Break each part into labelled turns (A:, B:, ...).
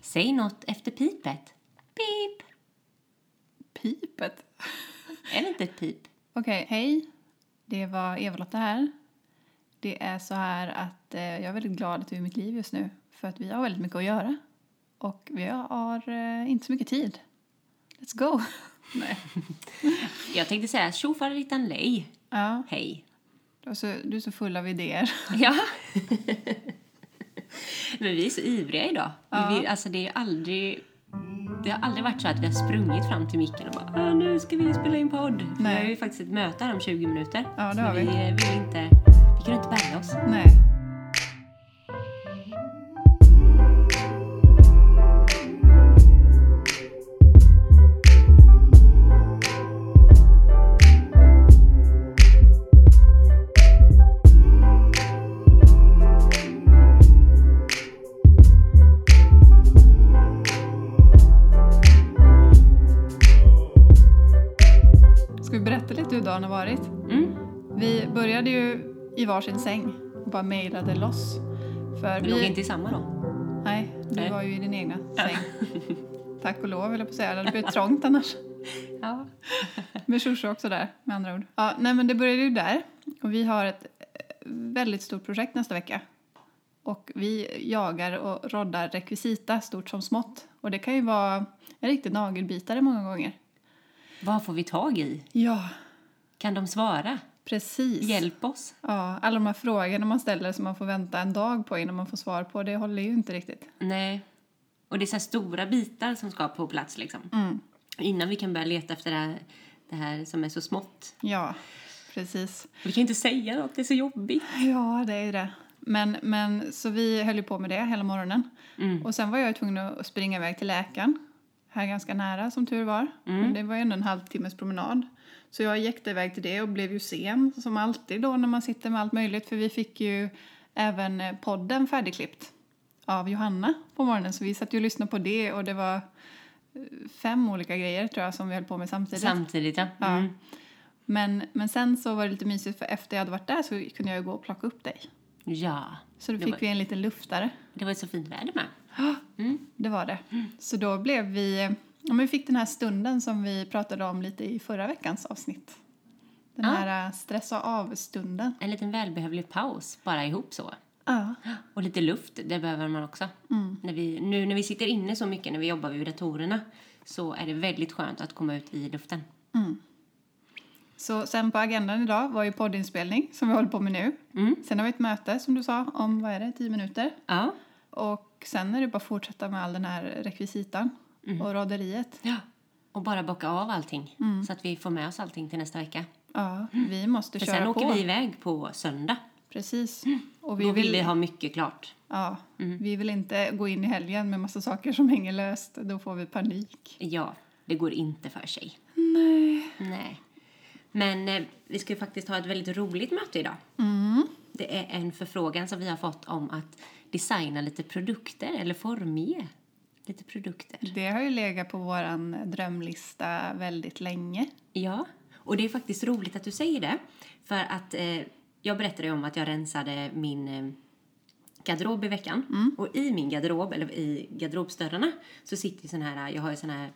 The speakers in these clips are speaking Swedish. A: Säg något efter pipet. Pip!
B: Pipet.
A: Är det inte ett pip?
B: Okej, hej. Det var Eva-Lotta här. Det är så här att eh, jag är väldigt glad att du är i mitt liv just nu. För att vi har väldigt mycket att göra. Och vi har eh, inte så mycket tid. Let's go! Nej.
A: Jag tänkte säga tjofaderittan lej.
B: Ja,
A: Hej.
B: du är, så, du är så full av idéer.
A: Ja. Men vi är så ivriga idag. Vi vill, alltså det, är ju aldrig, det har aldrig varit så att vi har sprungit fram till micken och bara "Ah, nu ska vi spela in podd. För
B: Nej.
A: Vi har ju faktiskt ett möte här om 20 minuter.
B: Ja, det
A: så
B: har vi.
A: eh, vill inte, vi kan inte bärga oss.
B: Nej. Ska vi berätta lite hur dagen har varit?
A: Mm.
B: Vi började ju i varsin säng och bara mejlade loss. För
A: Vi låg inte i samma då.
B: Nej, du
A: Nej.
B: var ju i din egna säng. Tack och lov, vill jag på att säga. Det hade blivit trångt annars.
A: Ja.
B: Med Shushu också där, med andra ord. Ja, nej, men det började ju där. Och vi har ett eh, väldigt stort projekt nästa vecka. Och vi jagar och roddar rekvisita, stort som smått. Och det kan ju vara en riktig nagelbitare många gånger.
A: Vad får vi tag i?
B: Ja,
A: Kan de svara?
B: precis.
A: Hjälp oss.
B: Ja, alla de här frågorna man ställer som man får vänta en dag på innan man får svar på, det håller ju inte riktigt.
A: Nej. Och det är så här stora bitar som ska på plats liksom.
B: Mm.
A: Innan vi kan börja leta efter det här, det här som är så smått.
B: Ja, precis.
A: Vi kan inte säga något, det är så jobbigt.
B: Ja, det är ju det. Men, men, så vi höll ju på med det hela morgonen. Och sen var jag ju tvungen att springa iväg till läkaren. Här ganska nära som tur var. Men det var ju ändå en halvtimmes promenad. Så jag jäktade iväg till det och blev ju sen som alltid då när man sitter med allt möjligt. För vi fick ju även eh, podden färdigklippt av Johanna på morgonen. Så vi satt ju och lyssnade på det och det var eh, fem olika grejer tror jag som vi höll på med samtidigt.
A: Samtidigt, ja.
B: Ja.
A: Mm.
B: Men, men sen så var det lite mysigt för efter jag hade varit där så kunde jag ju gå och plocka upp dig.
A: ja.
B: Så då
A: Det
B: fick
A: var-
B: vi en liten luftare.
A: Det var ett så fint väder med. Mm.
B: Det var det. Så då blev vi... Ja, men vi fick den här stunden som vi pratade om lite i förra veckans avsnitt. Den
A: Ja.
B: här eh, stressa av-stunden.
A: En liten välbehövlig paus, bara ihop så. Ah.
B: Ja.
A: Och lite luft, det behöver man också. När vi, nu när vi sitter inne så mycket, när vi jobbar vid datorerna, så är det väldigt skönt att komma ut i luften.
B: Så sen på agendan idag var ju poddinspelning som vi håller på med nu.
A: Mm.
B: Sen har vi ett möte som du sa om, vad är det, 10 minuter?
A: Ja.
B: Och sen är det bara att fortsätta med all den här rekvisitan
A: Mm.
B: och raderiet.
A: ja. Och bara bocka av allting, så att vi får med oss allting till nästa vecka.
B: Ja, vi måste
A: Mm. För
B: köra
A: sen
B: på.
A: åker vi iväg på söndag.
B: Precis. Och
A: Då vill vi ha mycket klart.
B: Ja, vi vill inte gå in i helgen med massa saker som hänger löst. Då får vi panik.
A: Ja, det går inte för sig.
B: Nej.
A: Nej. Men eh, vi ska ju faktiskt ha ett väldigt roligt möte idag.
B: Mm.
A: Det är en förfrågan som vi har fått om att designa lite produkter eller formge lite produkter.
B: Det har ju legat på vår drömlista väldigt länge.
A: Ja, och det är faktiskt roligt att du säger det. För att eh, jag berättade ju om att jag rensade min eh, garderob i veckan. Och i min garderob, eller i garderobsdörrarna, så sitter ju sån här, jag har ju sån här,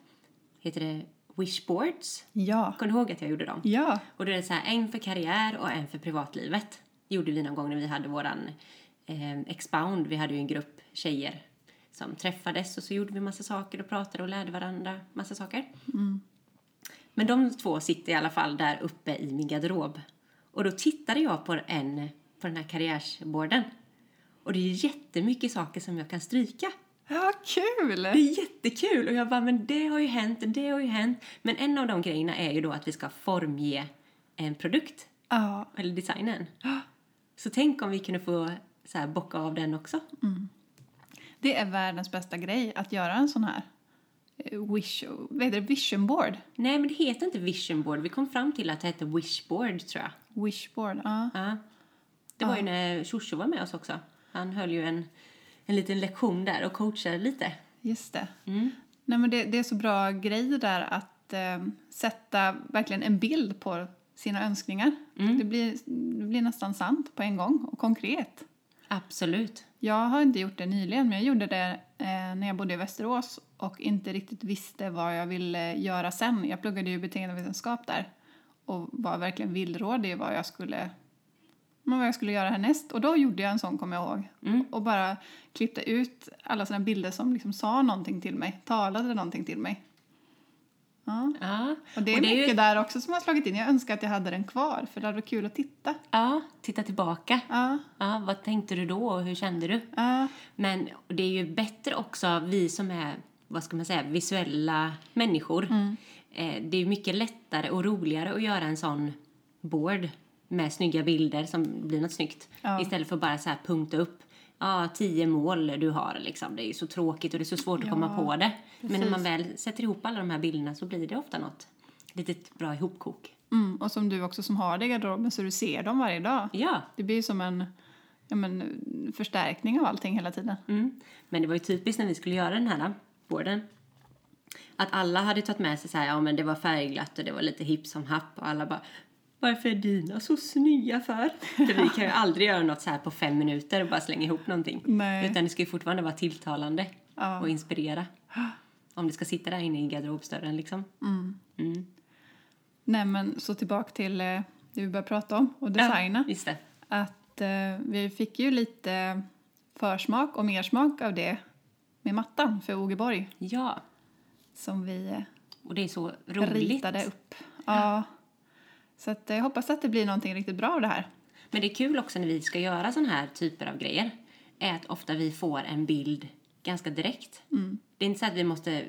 A: heter det wishboards?
B: Ja.
A: Kommer du ihåg att jag gjorde dem?
B: Ja.
A: Och då är det så här, en för karriär och en för privatlivet. Gjorde vi någon gång när vi hade våran eh, expound. Vi hade ju en grupp tjejer som träffades och så gjorde vi massa saker och pratade och lärde varandra massa saker. Men de två sitter i alla fall där uppe i min garderob. Och då tittade jag på, en, på den här karriärsboarden. Och det är ju jättemycket saker som jag kan stryka.
B: Ja,
A: Det
B: kul!
A: är jättekul! Och jag bara, men det har ju hänt, det har ju hänt. Men en av de grejerna är ju då att vi ska formge en produkt,
B: Ja.
A: eller designen. Så tänk om vi kunde få så här, bocka av den också.
B: Det är världens bästa grej att göra en sån här eh, wish, vad heter det, vision board.
A: Nej, men det heter inte vision board. Vi kom fram till att det hette wishboard, tror jag.
B: Wishboard, ja.
A: Ja. Det var ju när Shoshu var med oss också. Han höll ju en, en liten lektion där och coachade lite.
B: Just det. Nej, men det, det är så bra grejer där att eh, sätta verkligen en bild Mm. på sina önskningar. Det, blir, det blir nästan sant på en gång och konkret.
A: Absolut.
B: Jag har inte gjort det nyligen, men jag gjorde det eh, när jag bodde i Västerås och inte riktigt visste vad jag ville göra sen. Jag pluggade ju beteendevetenskap där och var verkligen villrådig i vad jag skulle men vad jag skulle göra härnäst. Och då gjorde jag en sån, kommer jag ihåg. Och bara klippte ut alla såna bilder som liksom sa någonting till mig, talade någonting till mig. Ja.
A: Ja.
B: Och det är
A: ju-
B: mycket där också som har slagit in. Jag önskar att jag hade den kvar, för det hade varit kul att titta.
A: Ja, titta tillbaka.
B: Ja,
A: Ja, vad tänkte du då och hur kände du?
B: ja,
A: Men det är ju bättre också, vi som är vad ska man säga, visuella människor. Eh, det är ju mycket lättare och roligare att göra en sån board med snygga bilder som blir något snyggt.
B: Ja.
A: Istället för att bara så här punkta upp. Ja, tio mål du har liksom. Det är ju så tråkigt och det är så svårt att komma på det. Men när man väl sätter ihop alla de här bilderna så blir det ofta något litet bra ihopkok.
B: Mm, och som du också som har det i garderoben så du ser dem varje dag.
A: Ja,
B: Det blir ju som en ja, men, förstärkning av allting hela tiden.
A: Mm. Men det var ju typiskt när vi skulle göra den här boarden. Att alla hade tagit med sig så här, ja men det var färgglatt och det var lite hipp som happ och alla bara varför är dina så snygga för? för vi kan ju aldrig göra något så här på fem minuter och bara slänga ihop någonting.
B: Nej.
A: Utan det ska ju fortfarande vara tilltalande
B: Ja.
A: och inspirera. Om det ska sitta där inne i garderobsdörren liksom. Mm.
B: Nej men så tillbaka till eh, det vi började prata om och designa.
A: Just det.
B: Att eh, vi fick ju lite försmak och mersmak av det med mattan för Ogeborg
A: Ja,
B: som vi eh,
A: och det är så roligt.
B: ritade upp. Ja. Så att, eh, jag hoppas att det blir någonting riktigt bra av det här.
A: Men det är kul också när vi ska göra såna här typer av grejer är att ofta vi får en bild ganska direkt. Det är inte så att vi måste,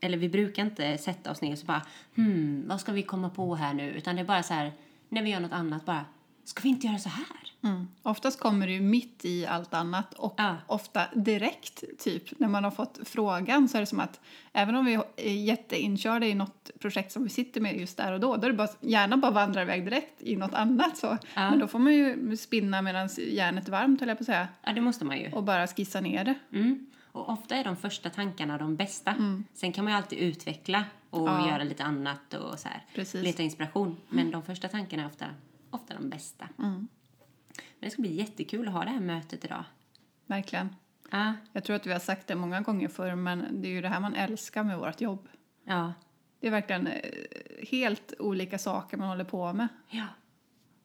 A: eller vi brukar inte sätta oss ner och så bara hmm, vad ska vi komma på här nu? Utan det är bara så här, när vi gör något annat bara, ska vi inte göra så här?
B: Mm. Oftast kommer det ju mitt i allt annat och
A: Ja.
B: ofta direkt, typ. När man har fått frågan så är det som att även om vi är jätteinkörda i något projekt som vi sitter med just där och då, då är det bara, hjärnan bara vandrar iväg direkt i något annat. Så. Men då får man ju spinna medan järnet är varmt, höll jag på att säga,
A: Ja, det måste man ju.
B: och bara skissa ner det.
A: Mm. Och ofta är de första tankarna de bästa. Sen kan man ju alltid utveckla och göra lite annat och så här.
B: Precis.
A: Leta inspiration. Men de första tankarna är ofta, ofta de bästa. Men det ska bli jättekul att ha det här mötet idag.
B: Verkligen.
A: Ja,
B: Jag tror att vi har sagt det många gånger förr, men det är ju det här man älskar med vårt jobb.
A: ja,
B: Det är verkligen eh, helt olika saker man håller på med.
A: ja.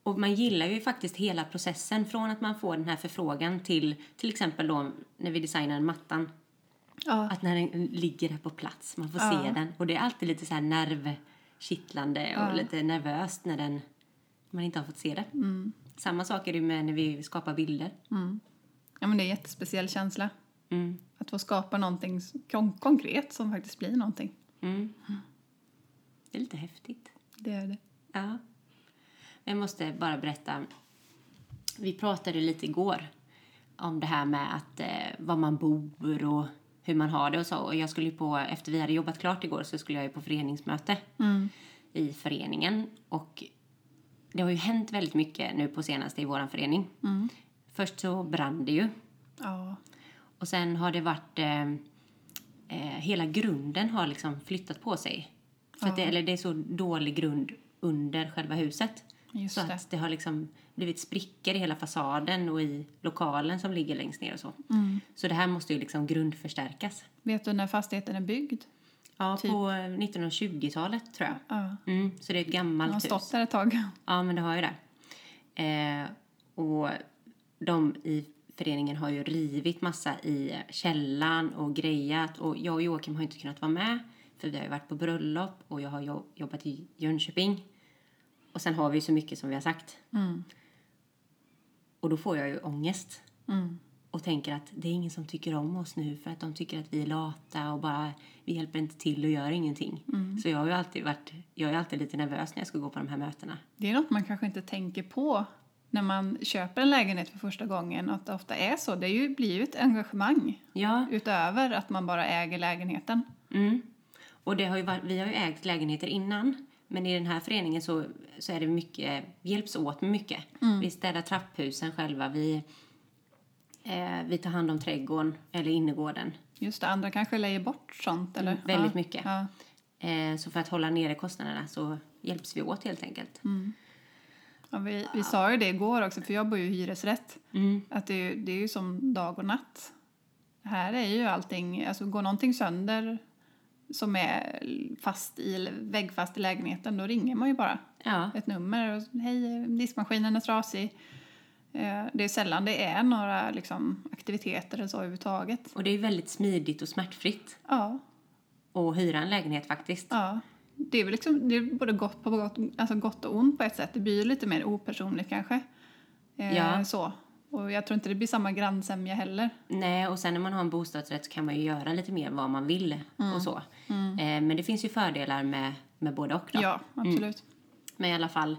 A: Och man gillar ju faktiskt hela processen från att man får den här förfrågan till till exempel då när vi designar mattan.
B: Ja.
A: Att när den ligger där på plats, man får se den. Och det är alltid lite så här nervkittlande och lite nervöst när den, man inte har fått se det. Samma sak är det ju med när vi skapar bilder.
B: ja, men det är en jättespeciell känsla.
A: Mm.
B: Att få skapa någonting s- kon- konkret som faktiskt blir någonting.
A: Mm. Det är lite häftigt.
B: Det är det.
A: Ja. Jag måste bara berätta. Vi pratade lite igår om det här med att eh, var man bor och hur man har det och så. Och jag skulle ju på, efter vi hade jobbat klart igår så skulle jag ju på föreningsmöte i föreningen. Och det har ju hänt väldigt mycket nu på senaste i våran förening. Först så brann det ju.
B: Ja.
A: Och sen har det varit... Eh, eh, hela grunden har liksom flyttat på sig. För att det, eller det är så dålig grund under själva huset.
B: Just
A: så
B: det.
A: att det har liksom blivit sprickor i hela fasaden och i lokalen som ligger längst ner och så.
B: Mm.
A: Så det här måste ju liksom grundförstärkas.
B: Vet du när fastigheten är byggd?
A: Ja, på eh, 1920-talet tror jag.
B: typ. Ja.
A: Mm, så det är ett
B: Den
A: gammalt
B: har
A: hus.
B: stått där ett tag.
A: Ja, men det har ju det. Eh, och de i föreningen har ju rivit massa i källan och grejat. Och jag och Joakim har ju inte kunnat vara med för vi har ju varit på bröllop och jag har jo- jobbat i Jönköping. Och sen har vi ju så mycket som vi har sagt. Och då får jag ju ångest. Och tänker att det är ingen som tycker om oss nu för att de tycker att vi är lata och bara vi hjälper inte till och gör ingenting. Så jag har ju alltid varit, jag är ju alltid lite nervös när jag ska gå på de här mötena.
B: Det är något man kanske inte tänker på när man köper en lägenhet för första gången. Att det ofta är så. Det är ju, blir ju ett engagemang
A: Ja,
B: utöver att man bara äger lägenheten.
A: mm. och det har ju varit, vi har ju ägt lägenheter innan. Men i den här föreningen så, så är det mycket, vi hjälps åt med mycket.
B: Mm.
A: Vi städar trapphusen själva, vi, eh, vi tar hand om trädgården eller innergården.
B: Just det, andra kanske lägger bort sånt. Eller?
A: väldigt
B: ja.
A: mycket.
B: Ja. Mm.
A: Eh, så för att hålla nere kostnaderna så hjälps vi åt helt enkelt.
B: Ja, vi, vi sa ju det igår också, för jag bor ju i hyresrätt.
A: Mm.
B: Att det, är ju- det är ju som dag och natt. Här är ju allting, alltså går någonting sönder som är fast i, väggfast i lägenheten, då ringer man ju bara
A: Ja.
B: ett nummer och hej, diskmaskinen är trasig. Eh, Det är sällan det är några liksom, aktiviteter eller så överhuvudtaget.
A: Och det är väldigt smidigt och smärtfritt
B: Ja,
A: att hyra en lägenhet faktiskt.
B: ja. Det är väl liksom, det är både gott, på gott, alltså gott och ont på ett sätt. Det blir ju lite mer opersonligt kanske. Eh,
A: Ja.
B: Så. Och jag tror inte det blir samma grannsämja heller.
A: Nej, och sen när man har en bostadsrätt så kan man ju göra lite mer vad man vill
B: Mm.
A: och så. Eh, men det finns ju fördelar med, med både och då.
B: Ja, absolut.
A: Men i alla fall,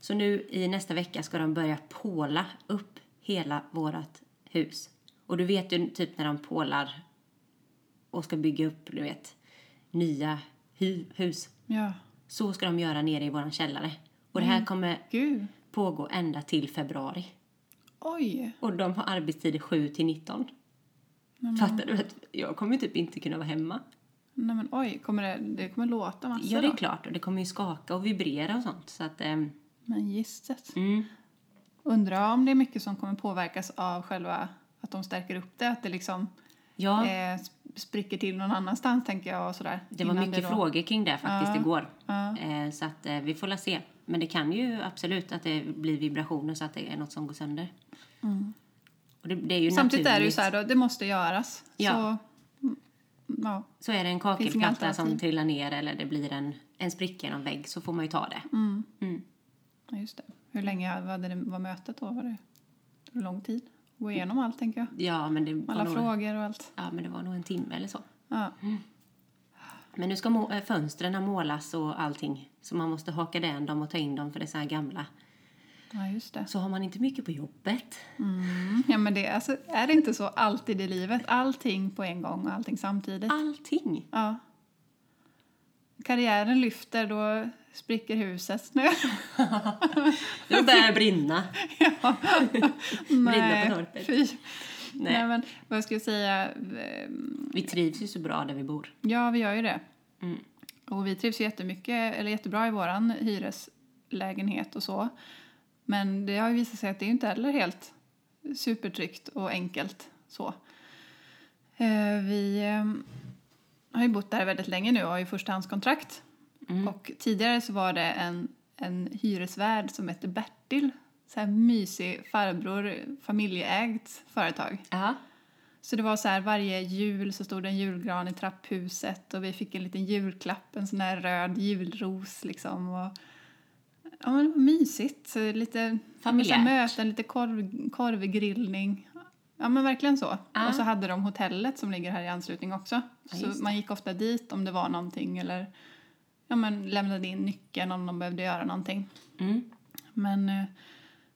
A: så nu i nästa vecka ska de börja påla upp hela vårat hus. Och du vet ju typ när de pålar och ska bygga upp, du vet, nya hu- hus.
B: Ja.
A: Så ska de göra nere i våran källare. Och det här kommer
B: Gud.
A: pågå ända till februari.
B: Oj.
A: Och de har arbetstider 7 till 19. Fattar du? att Jag kommer ju typ inte kunna vara hemma.
B: Nej men oj, kommer det, det kommer låta massor
A: Ja, det är
B: då.
A: klart. Och det kommer ju skaka och vibrera och sånt. Så att, ehm,
B: Men gisset.
A: mm.
B: Undrar om det är mycket som kommer påverkas av själva att de stärker upp det, att det liksom
A: ja.
B: eh, sp- spricker till någon annanstans tänker jag och sådär.
A: Det var
B: Innan
A: mycket
B: då-
A: frågor kring det faktiskt
B: Ja,
A: igår.
B: ja.
A: Eh, Så att eh, vi får la se. Men det kan ju absolut att det blir vibrationer så att det är något som går sönder. Och det, det är ju
B: Mm. Samtidigt är det ju
A: naturligt.
B: så här då, det måste göras.
A: Ja.
B: Så, mm, ja.
A: Så är det en
B: Finns inga
A: kakelplatta
B: alternativ.
A: som trillar ner eller det blir en, en spricka i någon vägg så får man ju ta det.
B: Mm. ja, just det. Hur länge var, det, var mötet då? Var det, det var lång tid? Gå igenom allt tänker jag.
A: Ja, Mm. men det var
B: Alla
A: nog,
B: frågor och allt.
A: Ja, men det var nog en timme eller så.
B: Ja.
A: Men nu ska må- eh, fönstren målas och allting. Så man måste haka den dem och ta in dem för det är så här gamla.
B: ja, just det.
A: Så har man inte mycket på jobbet.
B: Mm, Ja, men det, alltså, är det inte så alltid i livet? Allting på en gång och allting samtidigt.
A: Allting!
B: Ja. Karriären lyfter, då spricker huset. Nu.
A: Det börjar brinna.
B: ja.
A: Brinna på torpet.
B: Fy.
A: Nej.
B: Nej. men vad jag skulle säga... eh,
A: Vi trivs ju så bra där vi bor.
B: Ja, vi gör ju det.
A: Mm.
B: Och vi trivs ju jättemycket, eller jättebra i våran hyreslägenhet och så. Men det har ju visat sig att det är ju inte heller helt supertryggt och enkelt så. Eh, Vi eh, har ju bott där väldigt länge nu och har ju förstahandskontrakt. Och tidigare så var det en, en hyresvärd som hette Bertil. Så här mysig farbror, familjeägt företag.
A: Ja.
B: Så det var så här, varje jul så stod det en julgran i trapphuset och vi fick en liten julklapp, en sån här röd julros liksom. Och, ja, men det var mysigt. Så Lite
A: Familjärt.
B: så här möten, lite korv, korvgrillning. Ja, men verkligen så. Och så hade de hotellet som ligger här i anslutning också.
A: just
B: så man gick ofta dit om det var någonting eller ja, men lämnade in nyckeln om de behövde göra någonting.
A: Mm.
B: Men eh,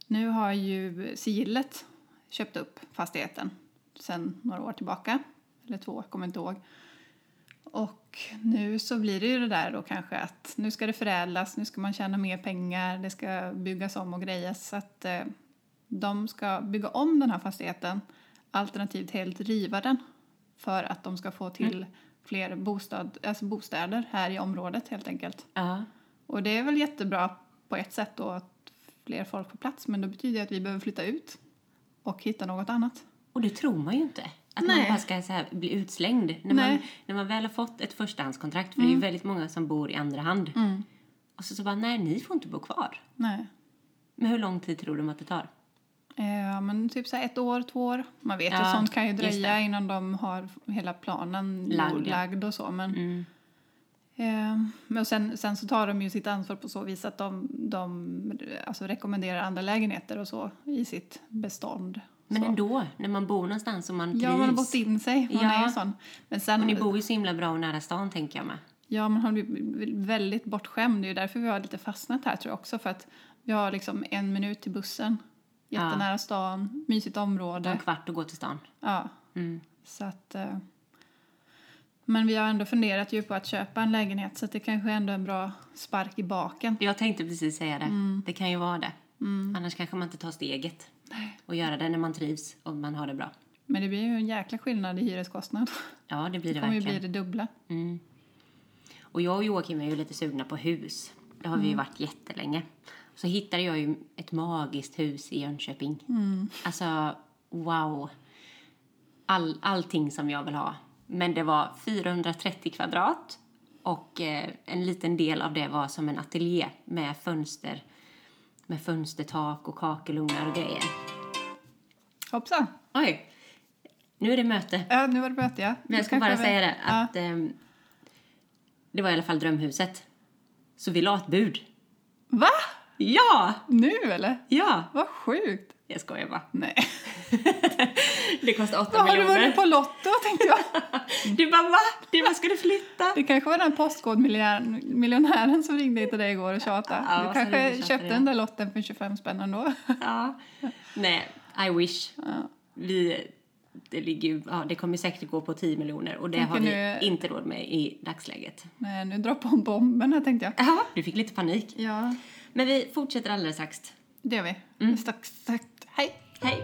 B: nu har ju Sigillet köpt upp fastigheten sen några år tillbaka. Eller två, jag kommer inte ihåg. Och nu så blir det ju det där då kanske att nu ska det förädlas, nu ska man tjäna mer pengar, det ska byggas om och grejas. Så att eh, de ska bygga om den här fastigheten alternativt helt riva den för att de ska få till fler bostad, alltså bostäder här i området helt enkelt.
A: Ja.
B: Och det är väl jättebra på ett sätt då att fler folk får plats men då betyder det att vi behöver flytta ut och hitta något annat.
A: Och det tror man ju inte. Att man
B: Nej.
A: bara ska så här bli utslängd. När man,
B: Nej. Mm.
A: när man väl har fått ett förstahandskontrakt, för det är ju väldigt många som bor i andra hand. Och så, så bara, nej, ni får inte bo kvar.
B: Nej.
A: Men hur lång tid tror de att det tar?
B: Eh, men typ så här ett år, två år. Man vet
A: Ja,
B: ju, sånt kan ju
A: just
B: dröja innan de har hela planen
A: Lagd,
B: lagd,
A: ja. Mm.
B: och så. Men, eh, men och sen, sen så tar de ju sitt ansvar på så vis att de, de alltså rekommenderar andra lägenheter och så i sitt bestånd.
A: Men
B: så.
A: ändå, när man bor någonstans och man trivs.
B: Ja, man har bott in sig. Man
A: Ja.
B: är ju sån. Men sen,
A: Och ni bor ju så himla bra och nära stan, tänker jag med.
B: Ja, man har blivit väldigt bortskämd. Det är ju därför vi har lite fastnat här tror jag också. För att vi har liksom en minut till bussen. Jättenära stan, mysigt
A: Det var
B: område.
A: en kvart att gå till stan.
B: Ja,
A: Mm.
B: så att... eh, Men vi har ändå funderat ju på att köpa en lägenhet så att det kanske ändå är en bra spark i baken.
A: Jag tänkte precis säga det.
B: Mm.
A: Det kan ju vara det. Annars kanske man inte tar steget. Och göra det när man trivs och man har det bra.
B: Men det blir ju en jäkla skillnad i hyreskostnad.
A: Ja, det blir det,
B: Det kommer ju
A: verkligen.
B: bli det dubbla.
A: Och jag och Joakim är ju lite sugna på hus. Det har vi ju varit jättelänge. Så hittade jag ju ett magiskt hus i Jönköping. Alltså, wow. All, allting som jag vill ha. Men det var 430 kvadrat och eh, en liten del av det var som en ateljé med fönster med fönstertak och kakelugnar och grejer.
B: Hoppsan!
A: Oj! Nu är det möte.
B: Ja, nu var det möte, ja.
A: Men
B: Nu
A: jag ska
B: kanske
A: bara
B: vi-
A: säga det
B: Ja.
A: att ehm, det var i alla fall drömhuset. Så vi la ett bud.
B: Va?
A: Ja!
B: Nu eller?
A: Ja!
B: Vad sjukt!
A: Jag skojar bara.
B: Nej.
A: Det kostar 8
B: Vad har du
A: miljoner.
B: vunnit på Lotto tänkte jag.
A: Du bara va? Du bara ska du flytta?
B: Det kanske var den här postkodmiljonären miljonären som ringde till dig igår och tjatade.
A: Ja,
B: du
A: så
B: kanske
A: ringde och tjatade,
B: köpte
A: ja.
B: den där lotten för 25 spänn ändå.
A: Ja. Nej, I wish.
B: Ja.
A: Vi, det, ligger, ju- ja, det kommer säkert gå på 10 miljoner och det
B: Tänker
A: har vi
B: nu-
A: inte råd med i dagsläget.
B: Nej, nu droppar hon bomben här tänkte jag.
A: Ja, du fick lite panik.
B: Ja,
A: Men vi fortsätter alldeles strax.
B: det gör vi.
A: Mm.
B: Stack, stack. Hej!
A: Hej!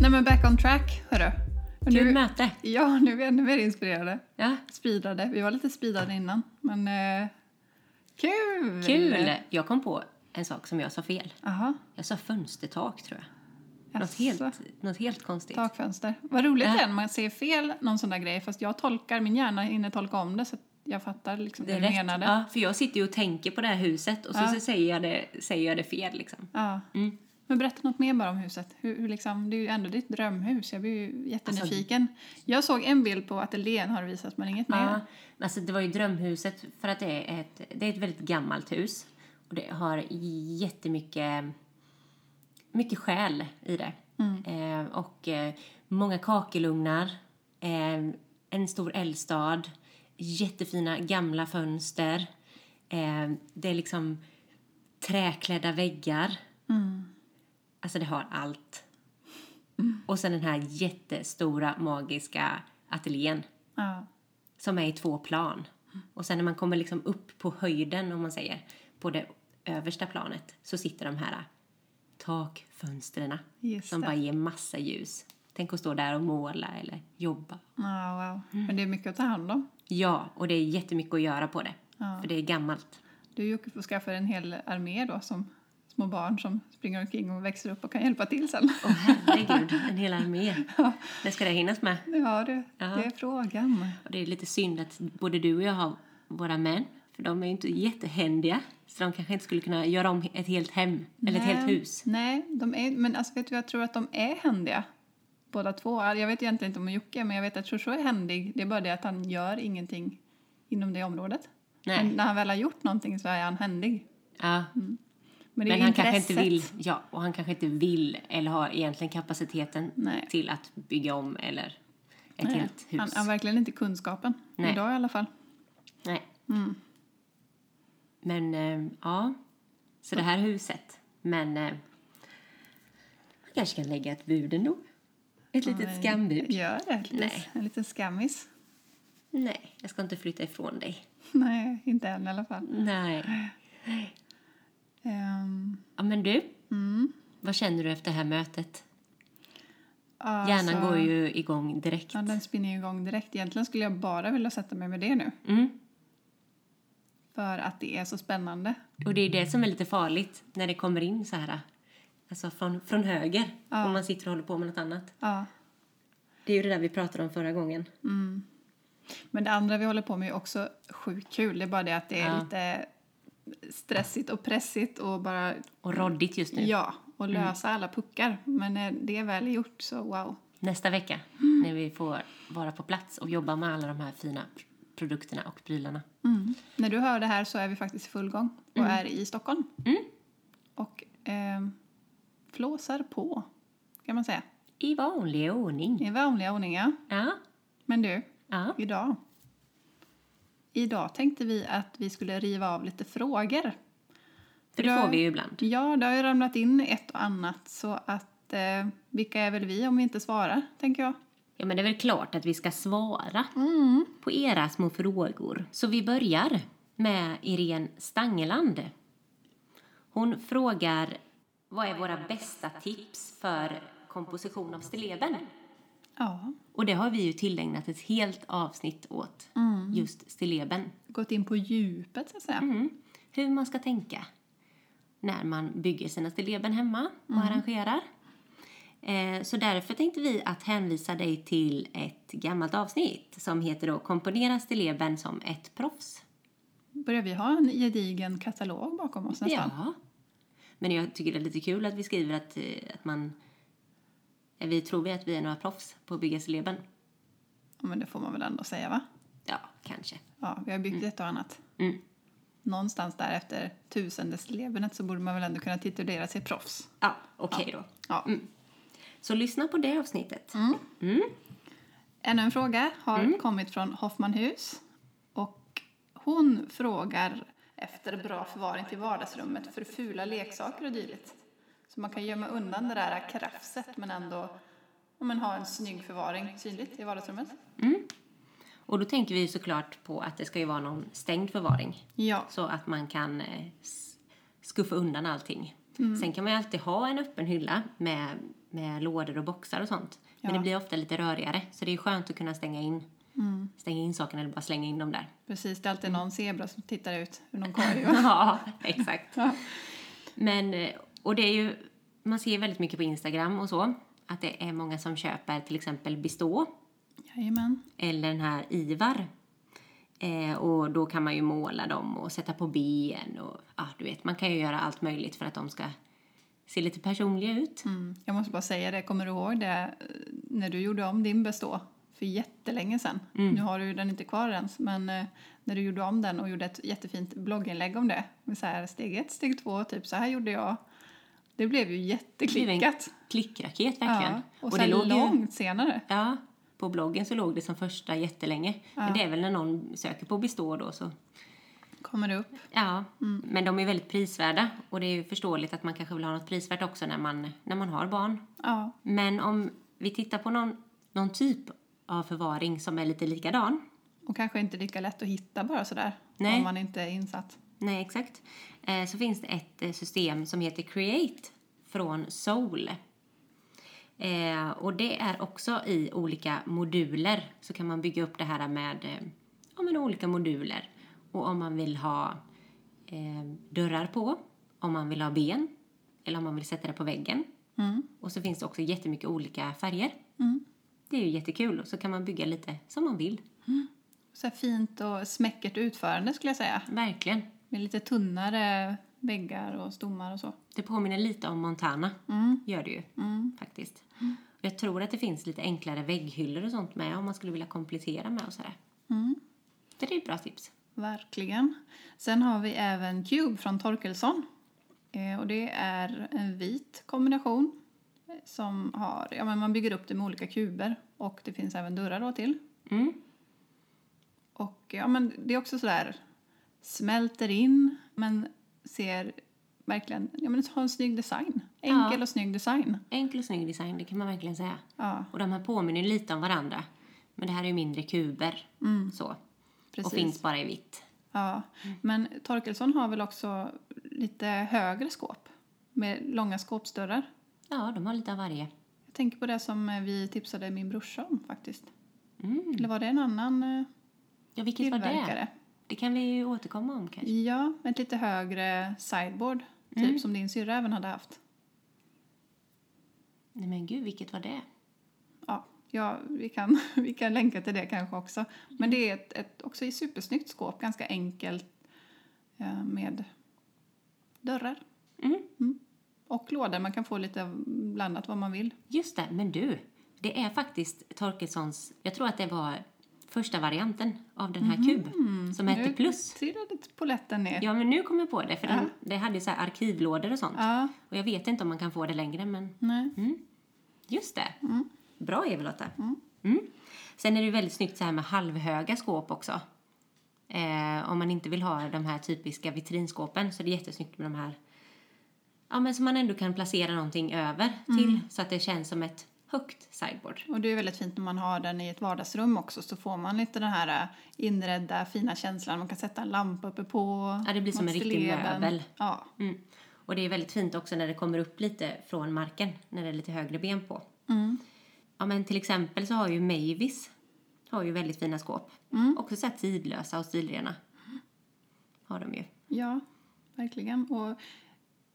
B: Nej men back on track, hörru. Och
A: Kul
B: nu,
A: möte.
B: ja, nu är vi ännu mer inspirerade.
A: Ja.
B: Speedade. Vi var lite speedade innan, men eh, kul!
A: Kul! Jag kom på en sak som jag sa fel.
B: Jaha,
A: Jag sa fönstertak, tror jag. Något
B: Jaså.
A: helt, något helt konstigt.
B: takfönster. Vad roligt
A: Ja.
B: det är när man ser fel någon sån där grej, fast jag tolkar, min hjärna hinner tolka om det så att jag fattar liksom
A: Det
B: hur
A: är
B: du
A: rätt.
B: menade.
A: Ja, för jag sitter ju och tänker på det här huset och så,
B: Ja.
A: så säger, jag det, säger jag det fel. Liksom.
B: Ja.
A: Mm.
B: Men berätta något mer bara om huset. Hur, hur liksom, det är ju ändå ditt drömhus. Jag blir
A: Alltså-
B: ju jättenyfiken. jag såg en bild på ateljén har du visat, men inget
A: Ja.
B: mer.
A: Alltså, det var ju drömhuset för att det är ett, det är ett väldigt gammalt hus. Och det har jättemycket mycket själ i det. Eh, och eh, många kakelugnar, eh, en stor eldstad, jättefina gamla fönster. Eh, det är liksom träklädda väggar. Alltså det har allt. Och sen den här jättestora magiska ateljén
B: Ja.
A: som är i två plan. Och sen när man kommer liksom upp på höjden, om man säger, på det översta planet så sitter de här takfönstren
B: Just
A: som
B: det.
A: bara ger massa ljus. Tänk att stå där och måla eller jobba.
B: Ja, wow.
A: Mm.
B: Men det är mycket att ta hand om.
A: Ja, och det är jättemycket att göra på det,
B: Ja.
A: för det är gammalt.
B: Du Jocke får skaffa dig en hel armé då som små barn som springer omkring och växer upp och kan hjälpa till sen.
A: Åh herregud, en hel armé. Det ska det hinnas med.
B: Ja, du, det är frågan.
A: Och det är lite synd att både du och jag har våra män, för de är ju inte jättehändiga. Så de kanske inte skulle kunna göra om ett helt hem, eller ett
B: Nej,
A: helt hus.
B: Nej, de är, men alltså vet du, jag tror att de är händiga. Båda två. Jag vet egentligen inte om Jocke, men jag vet att Shosho är händig. Det är bara det att han gör ingenting inom det området.
A: Nej.
B: Men när han väl har gjort någonting så är han händig.
A: Ja,
B: Men det är
A: Men han kanske
B: intresset.
A: inte vill, ja, och han kanske inte vill eller har egentligen kapaciteten
B: Nej.
A: till att bygga om eller ett
B: Nej,
A: helt hus.
B: Han har verkligen inte kunskapen.
A: Nej.
B: Idag i alla fall.
A: Nej.
B: Mm.
A: Men eh, ja, så det här huset. Men eh, han kanske kan lägga ett bud ändå. Ett litet
B: Men
A: skambud.
B: Gör det. Lite,
A: Nej.
B: En liten skammis.
A: Nej, jag ska inte flytta ifrån dig.
B: Nej, inte än i alla fall.
A: Nej.
B: Ehm,
A: Ja, men du,
B: Mm.
A: vad känner du efter det här mötet?
B: ja,
A: Hjärnan
B: så-
A: går ju igång direkt.
B: Alltså- Ja, den spinner ju igång direkt. Egentligen skulle jag bara vilja sätta mig med det nu.
A: Mm.
B: För att det är så spännande.
A: Och det är det som är lite farligt när det kommer in så här. Alltså från, från höger.
B: Ja.
A: Om man sitter och håller på med något annat.
B: Ja.
A: Det är ju det där vi pratade om förra gången.
B: Men det andra vi håller på med är också sjukt kul. Det är bara det att det är
A: Ja.
B: lite stressigt och pressigt och bara
A: Och råddigt just nu.
B: ja,
A: Mm.
B: och lösa alla puckar. Men eh, det är väl gjort så wow.
A: Nästa vecka. När vi får vara på plats och jobba med alla de här fina pr- produkterna och prylarna.
B: Mm. När du hör det här så är vi faktiskt i full gång och
A: Mm.
B: är i Stockholm. Och eh, flåsar på kan man säga.
A: I vanlig ordning.
B: I vanliga ordning ja.
A: Ja.
B: Men du,
A: Ja.
B: idag. Idag tänkte vi att vi skulle riva av lite frågor.
A: För det
B: Idag-
A: får vi ju ibland.
B: Ja, det har ju ramlat in ett och annat så att eh, vilka är väl vi om vi inte svarar, tänker jag.
A: Ja men det är väl klart att vi ska svara. På era små frågor. Så vi börjar med Irene Stangeland. Hon frågar vad är våra bästa tips för komposition av stilleben?
B: Ja.
A: Och det har vi ju tillägnat ett helt avsnitt åt, just stilleben.
B: Gått in på djupet så att säga.
A: Mm. Hur man ska tänka när man bygger sina stilleben hemma och arrangerar. Eh, Så därför tänkte vi att hänvisa dig till ett gammalt avsnitt som heter då Komponera stilleben som ett proffs.
B: Börjar vi ha en gedigen katalog bakom oss nästan?
A: Ja. Men jag tycker det är lite kul att vi skriver att, eh, att man... eh, Vi tror vi att vi är några proffs på att bygga stilleben.
B: Ja, men det får man väl ändå säga va?
A: Ja, kanske.
B: Ja, vi har byggt ett och annat.
A: Mm.
B: Någonstans där efter tusendeslebenet så borde man väl ändå kunna titulera sig proffs.
A: Ja, okej då. Mm.
B: Ja.
A: Så lyssna på det avsnittet.
B: Ännu en fråga har
A: Mm.
B: kommit från Hoffmanhus. Och hon frågar efter bra förvaring till vardagsrummet för fula leksaker och dylikt. Så man kan gömma undan det där krafset men ändå om man har en snygg förvaring synligt i vardagsrummet.
A: Och då tänker vi ju såklart på att det ska ju vara någon stängd förvaring.
B: Ja,
A: Så att man kan eh, s- skuffa undan allting. Sen kan man ju alltid ha en öppen hylla med, med lådor och boxar och sånt. Men
B: Ja.
A: det blir ofta lite rörigare. Så det är skönt att kunna stänga in, stänga in sakerna eller bara slänga in dem där.
B: precis. Det är alltid någon zebra som tittar ut ur någon korg. va?
A: ja, exakt.
B: Ja.
A: Men, eh, och det är ju, man ser ju väldigt mycket på Instagram och så. Att det är många som köper till exempel Bistå
B: Jajamän.
A: eller den här Ivar. Eh, och då kan man ju måla dem och sätta på ben och ja, du vet, man kan ju göra allt möjligt för att de ska se lite personliga ut.
B: Mm. Jag måste bara säga det, kommer du ihåg det eh, när du gjorde om din bestå för jättelänge sedan?
A: Mm.
B: Nu har du ju den inte kvar ens, men eh, när du gjorde om den och gjorde ett jättefint blogginlägg om det med så här steg ett, steg två, typ så här gjorde jag. Det blev ju jätteklickat.
A: Klickraket verkligen.
B: Ja. Och sen
A: ju,
B: långt senare.
A: ja, på bloggen så låg det som första jättelänge. Men det är väl när någon söker på bestå då så
B: Kommer det upp.
A: Ja, men de är väldigt prisvärda och det är ju förståeligt att man kanske vill ha något prisvärt också när man, när man har barn.
B: Ja.
A: Men om vi tittar på någon, någon typ av förvaring som är lite likadan.
B: Och kanske inte lika lätt att hitta bara sådär.
A: Nej.
B: Om man inte är insatt.
A: Nej, exakt. Eh, så finns det ett eh, system som heter Create från Soul. Eh, och det är också i olika moduler. Så kan man bygga upp det här med eh, ja, men olika moduler. Och om man vill ha eh, dörrar på, om man vill ha ben eller om man vill sätta det på väggen. Och så finns det också jättemycket olika färger. Det är ju jättekul. Och så kan man bygga lite som man vill.
B: Så här fint och smäckert utförande skulle jag säga.
A: Verkligen.
B: Med lite tunnare väggar och stommar och så.
A: Det påminner lite om Montana. Gör det ju. Faktiskt. Och Jag tror att det finns lite enklare vägghyllor och sånt med om man skulle vilja komplettera med och sådär. Så det är ett bra tips.
B: Verkligen. Sen har vi även Cube från Torkelson. Eh, och det är en vit kombination eh, som har, ja men man bygger upp det med olika kuber och det finns även dörrar då till.
A: Mm.
B: Och ja men det är också sådär, smälter in men ser verkligen, ja men har en snygg design. Enkel och snygg design.
A: Enkel och snygg design, det kan man verkligen säga.
B: Ja,
A: Och de här påminner ju lite om varandra. Men det här är ju mindre kuber. Så. Och Mm.
B: precis.
A: finns bara i vitt.
B: Ja, men Torkelsson har väl också lite högre skåp med långa skåpsdörrar.
A: Ja, de har lite av varje.
B: Jag tänker på det som eh, vi tipsade min brorsa om faktiskt. Eller var det en annan eh,
A: Ja, Mm. vilket var det?
B: tillverkare?
A: Det kan vi ju återkomma om kanske.
B: Ja, med ett lite högre sideboard.
A: Mm.
B: Typ som din syrra även hade haft.
A: Nej men gud, vilket var det?
B: Ja, ja vi, kan, vi kan länka till det kanske också. Men det är ett, ett också ett supersnyggt skåp. Ganska enkelt eh, med dörrar.
A: Mm.
B: Och lådor. Man kan få lite blandat vad man vill.
A: Just det, men du. Det är faktiskt Torkelssons, jag tror att det var första varianten av den här kub som hette
B: Mhm, Nu
A: Plus.
B: trillade polletten ner.
A: Ja, men nu kommer jag på det, för den, det hade ju så här arkivlådor och sånt.
B: Ja,
A: Och jag vet inte om man kan få det längre, men
B: nej.
A: just det. Bra Eva-Lotta. Mm. Sen är det ju väldigt snyggt så här med halvhöga skåp också. Eh, om man inte vill ha de här typiska vitrinskåpen så är det jättesnyggt med de här Ja, men som man ändå kan placera någonting över till
B: Mm.
A: så att det känns som ett högt sideboard.
B: Och det är väldigt fint när man har den i ett vardagsrum också så får man lite den här äh, inredda fina känslan. Man kan sätta en lampa uppe på.
A: Ja, det blir som
B: något
A: en riktig
B: stilleben.
A: möbel.
B: Ja,
A: Mm. Och det är väldigt fint också när det kommer upp lite från marken, när det är lite högre ben på. Ja, men till exempel så har ju Mavis har ju väldigt fina skåp. Också så här tidlösa och stilrena. Har de ju.
B: Ja, verkligen. Och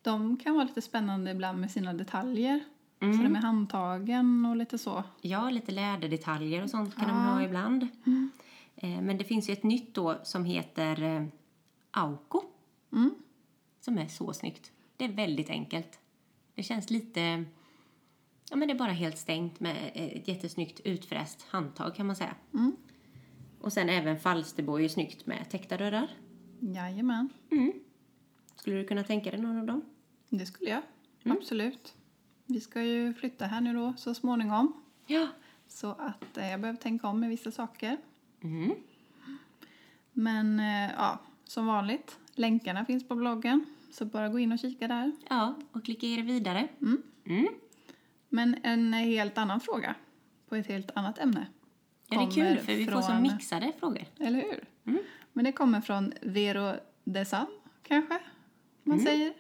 B: de kan vara lite spännande ibland med sina detaljer. Så det
A: Mm.
B: med handtagen och lite så.
A: Ja, lite läderdetaljer och sånt kan de ha ibland. Eh, Men det finns ju ett nytt då som heter eh, Auko. Som är så snyggt. Det är väldigt enkelt. Det känns lite... Ja, men det är bara helt stängt med eh, ett jättesnyggt utfräst handtag kan man säga. Och sen även Falsterbo är ju snyggt med täckta dörrar.
B: Jajamän.
A: Skulle du kunna tänka dig någon av dem?
B: Det skulle jag.
A: Mm.
B: Absolut. Vi ska ju flytta här nu då så småningom.
A: Ja.
B: Så att eh, jag behöver tänka om med vissa saker.
A: Mm.
B: Men eh, ja, som vanligt. Länkarna finns på bloggen. Så bara gå in och kika där.
A: Ja, och klicka er vidare. Mm.
B: Men en helt annan fråga. På ett helt annat ämne.
A: Ja, det är
B: Kommer
A: kul för vi får så Mm.
B: från-
A: mixade frågor.
B: Eller hur? Men det kommer från Vero Desan, kanske man
A: Mm.
B: säger.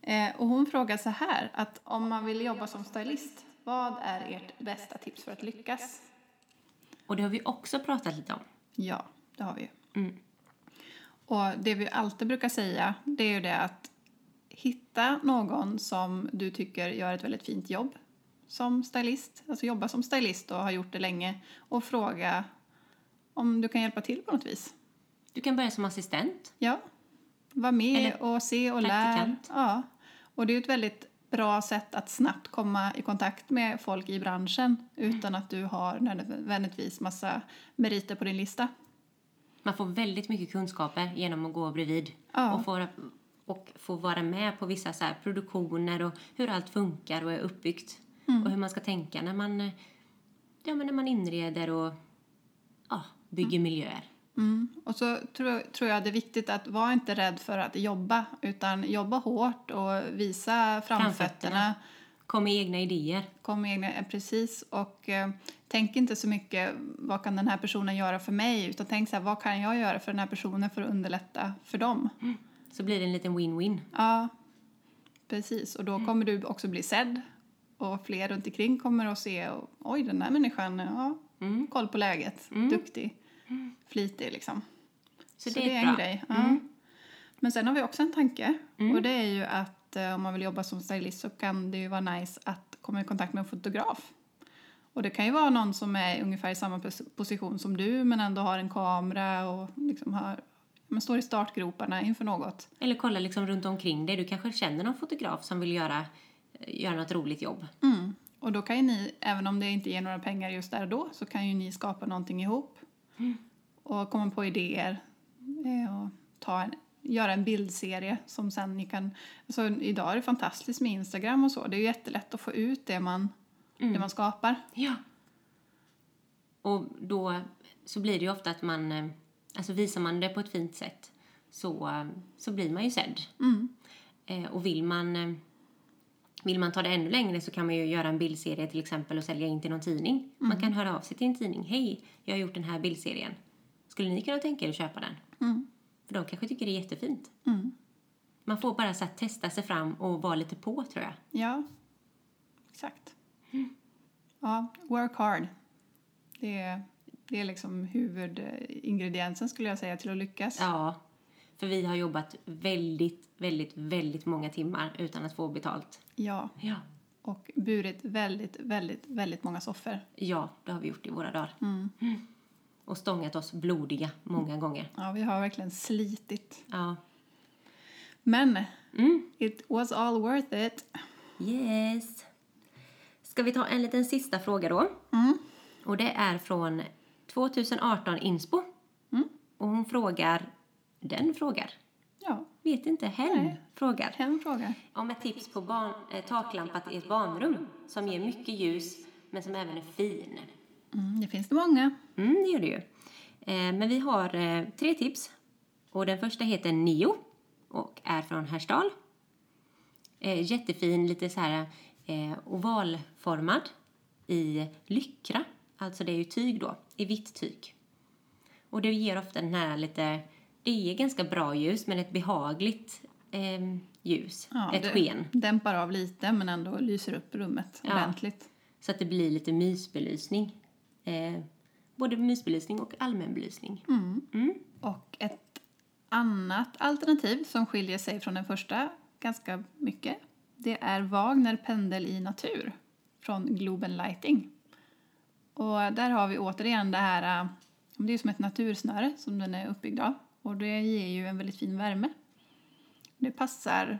B: Eh, och hon frågar så här, att om man vill jobba som stylist, vad är ert bästa tips för att lyckas?
A: Och det har vi också pratat lite om.
B: Ja, det har vi ju.
A: Mm.
B: Och det vi alltid brukar säga, det är ju det att hitta någon som du tycker gör ett väldigt fint jobb som stylist, alltså jobba som stylist och har gjort det länge och fråga om du kan hjälpa till på något vis.
A: Du kan börja som assistent.
B: Ja. Var med
A: Eller
B: och se och lär.
A: praktikant.
B: Ja. Och det är ju ett väldigt bra sätt att snabbt komma i kontakt med folk i branschen utan att du har nödvändigtvis massa meriter på din lista.
A: Man får väldigt mycket kunskaper genom att gå bredvid
B: Ja.
A: och, få, och få vara med på vissa så här produktioner och hur allt funkar och är uppbyggt.
B: Mm.
A: Och hur man ska tänka när man, eh, ja, men när man inreder och ja, bygger miljöer.
B: Mm. Och så tror, tror jag det är viktigt att vara inte rädd för att jobba utan jobba hårt och visa framfötterna.
A: Framfötterna. Kom med egna idéer.
B: Kom med egna, eh, precis. Och eh, tänk inte så mycket vad kan den här personen göra för mig utan tänk så här, vad kan jag göra för den här personen för att underlätta för dem?
A: Så blir det en liten win-win.
B: Ja, precis. Och då kommer du också bli sedd. Och fler runt omkring kommer att se och, oj, den där människan ja, koll på läget, duktig, flitig liksom.
A: Så,
B: Så
A: det är,
B: det är
A: bra. Mm.
B: en grej. Ja. Men sen har vi också en tanke och det är ju att eh, om man vill jobba som stylist så kan det ju vara nice att komma i kontakt med en fotograf. Och det kan ju vara någon som är ungefär i samma pos- position som du men ändå har en kamera och liksom har, men står i startgroparna inför något.
A: Eller kolla liksom runt omkring dig. Du kanske känner någon fotograf som vill göra, eh, göra något roligt jobb.
B: Mm. Och då kan ju ni, även om det inte ger några pengar just där och då, så kan ju ni skapa någonting ihop. Och komma på idéer. eh, Och ta en, göra en bildserie som sen ni kan... Alltså idag är det fantastiskt med Instagram och så. Det är ju jättelätt att få ut det man, det man skapar.
A: Ja. Och då så blir det ju ofta att man, eh, alltså visar man det på ett fint sätt så, eh, så blir man ju sedd. Eh, och vill man, eh, vill man ta det ännu längre så kan man ju göra en bildserie till exempel och sälja in till någon tidning. Man kan höra av sig till en tidning. Hej, jag har gjort den här bildserien. Skulle ni kunna tänka er att köpa den? För de kanske tycker det är jättefint. Man får bara så här, testa sig fram och vara lite på tror jag.
B: Ja, exakt. Ja, work hard. Det är, det är liksom huvudingrediensen skulle jag säga till att lyckas.
A: Ja, för vi har jobbat väldigt, väldigt, väldigt många timmar utan att få betalt.
B: ja.
A: Ja.
B: och burit väldigt, väldigt, väldigt många soffor.
A: Ja, det har vi gjort i våra dagar. Mm. Och stångat oss blodiga många gånger.
B: Ja, vi har verkligen slitit.
A: Ja.
B: Men
A: Mm.
B: it was all worth it.
A: Yes. Ska vi ta en liten sista fråga då?
B: Mm.
A: Och det är från 2018 Inspo. Och hon frågar, den frågar,
B: Ja,
A: vet inte, hen frågar.
B: en fråga.
A: Om ett tips på barn, eh, taklampa i ett barnrum som ger mycket ljus men som även är fin.
B: Mm, det finns det många.
A: Mm, det gör det ju. Eh, men vi har eh, tre tips. Och den första heter Nio och är från Herstal. Eh, jättefin, lite så här eh, ovalformad i lyckra. Alltså det är ju tyg då, i vitt tyg. Och det ger ofta den här lite, det ger ganska bra ljus men ett behagligt ehm, ljus, ett
B: det
A: sken.
B: Dämpar av lite men ändå lyser upp rummet
A: Ja.
B: ordentligt.
A: Så att det blir lite mysbelysning. Eh, både mysbelysning och allmän belysning. Mm.
B: Och ett annat alternativ som skiljer sig från den första ganska mycket det är Wagner pendel i natur från Globen Lighting. Och där har vi återigen det här, eh, det är som ett natursnöre som den är uppbyggd av och det ger ju en väldigt fin värme. Det passar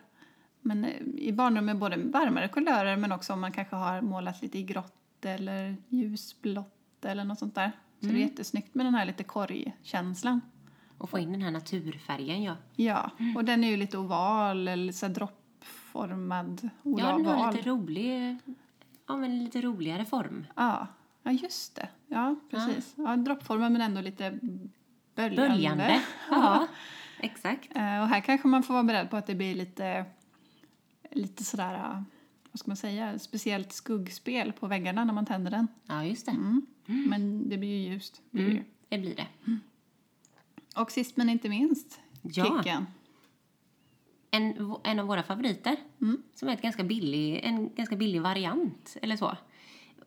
B: men eh, i barnrummet både varmare kulörer men också om man kanske har målat lite i grått eller ljusblått eller något sånt där. Så det är jättesnyggt med den här lite korgkänslan.
A: Och få in den här naturfärgen, ja.
B: Ja,
A: Mm.
B: och den är ju lite oval eller så här droppformad.
A: Ja, den har
B: oval.
A: lite rolig, ja men lite roligare form.
B: Ja, ja just det. Ja, precis. Ja, droppformad men ändå lite böljande.
A: Böljande. Ja, exakt.
B: Eh, Och här kanske man får vara beredd på att det blir lite, lite sådär, eh, vad ska man säga, speciellt skuggspel på väggarna när man tänder den.
A: Ja, just det.
B: Mm. Men det blir ju ljust. blir det ju.
A: Mm, Det blir det.
B: Och sist men inte minst,
A: Ja.
B: kicken.
A: en, en av våra favoriter. Som är ett ganska billig, en ganska billig variant eller så.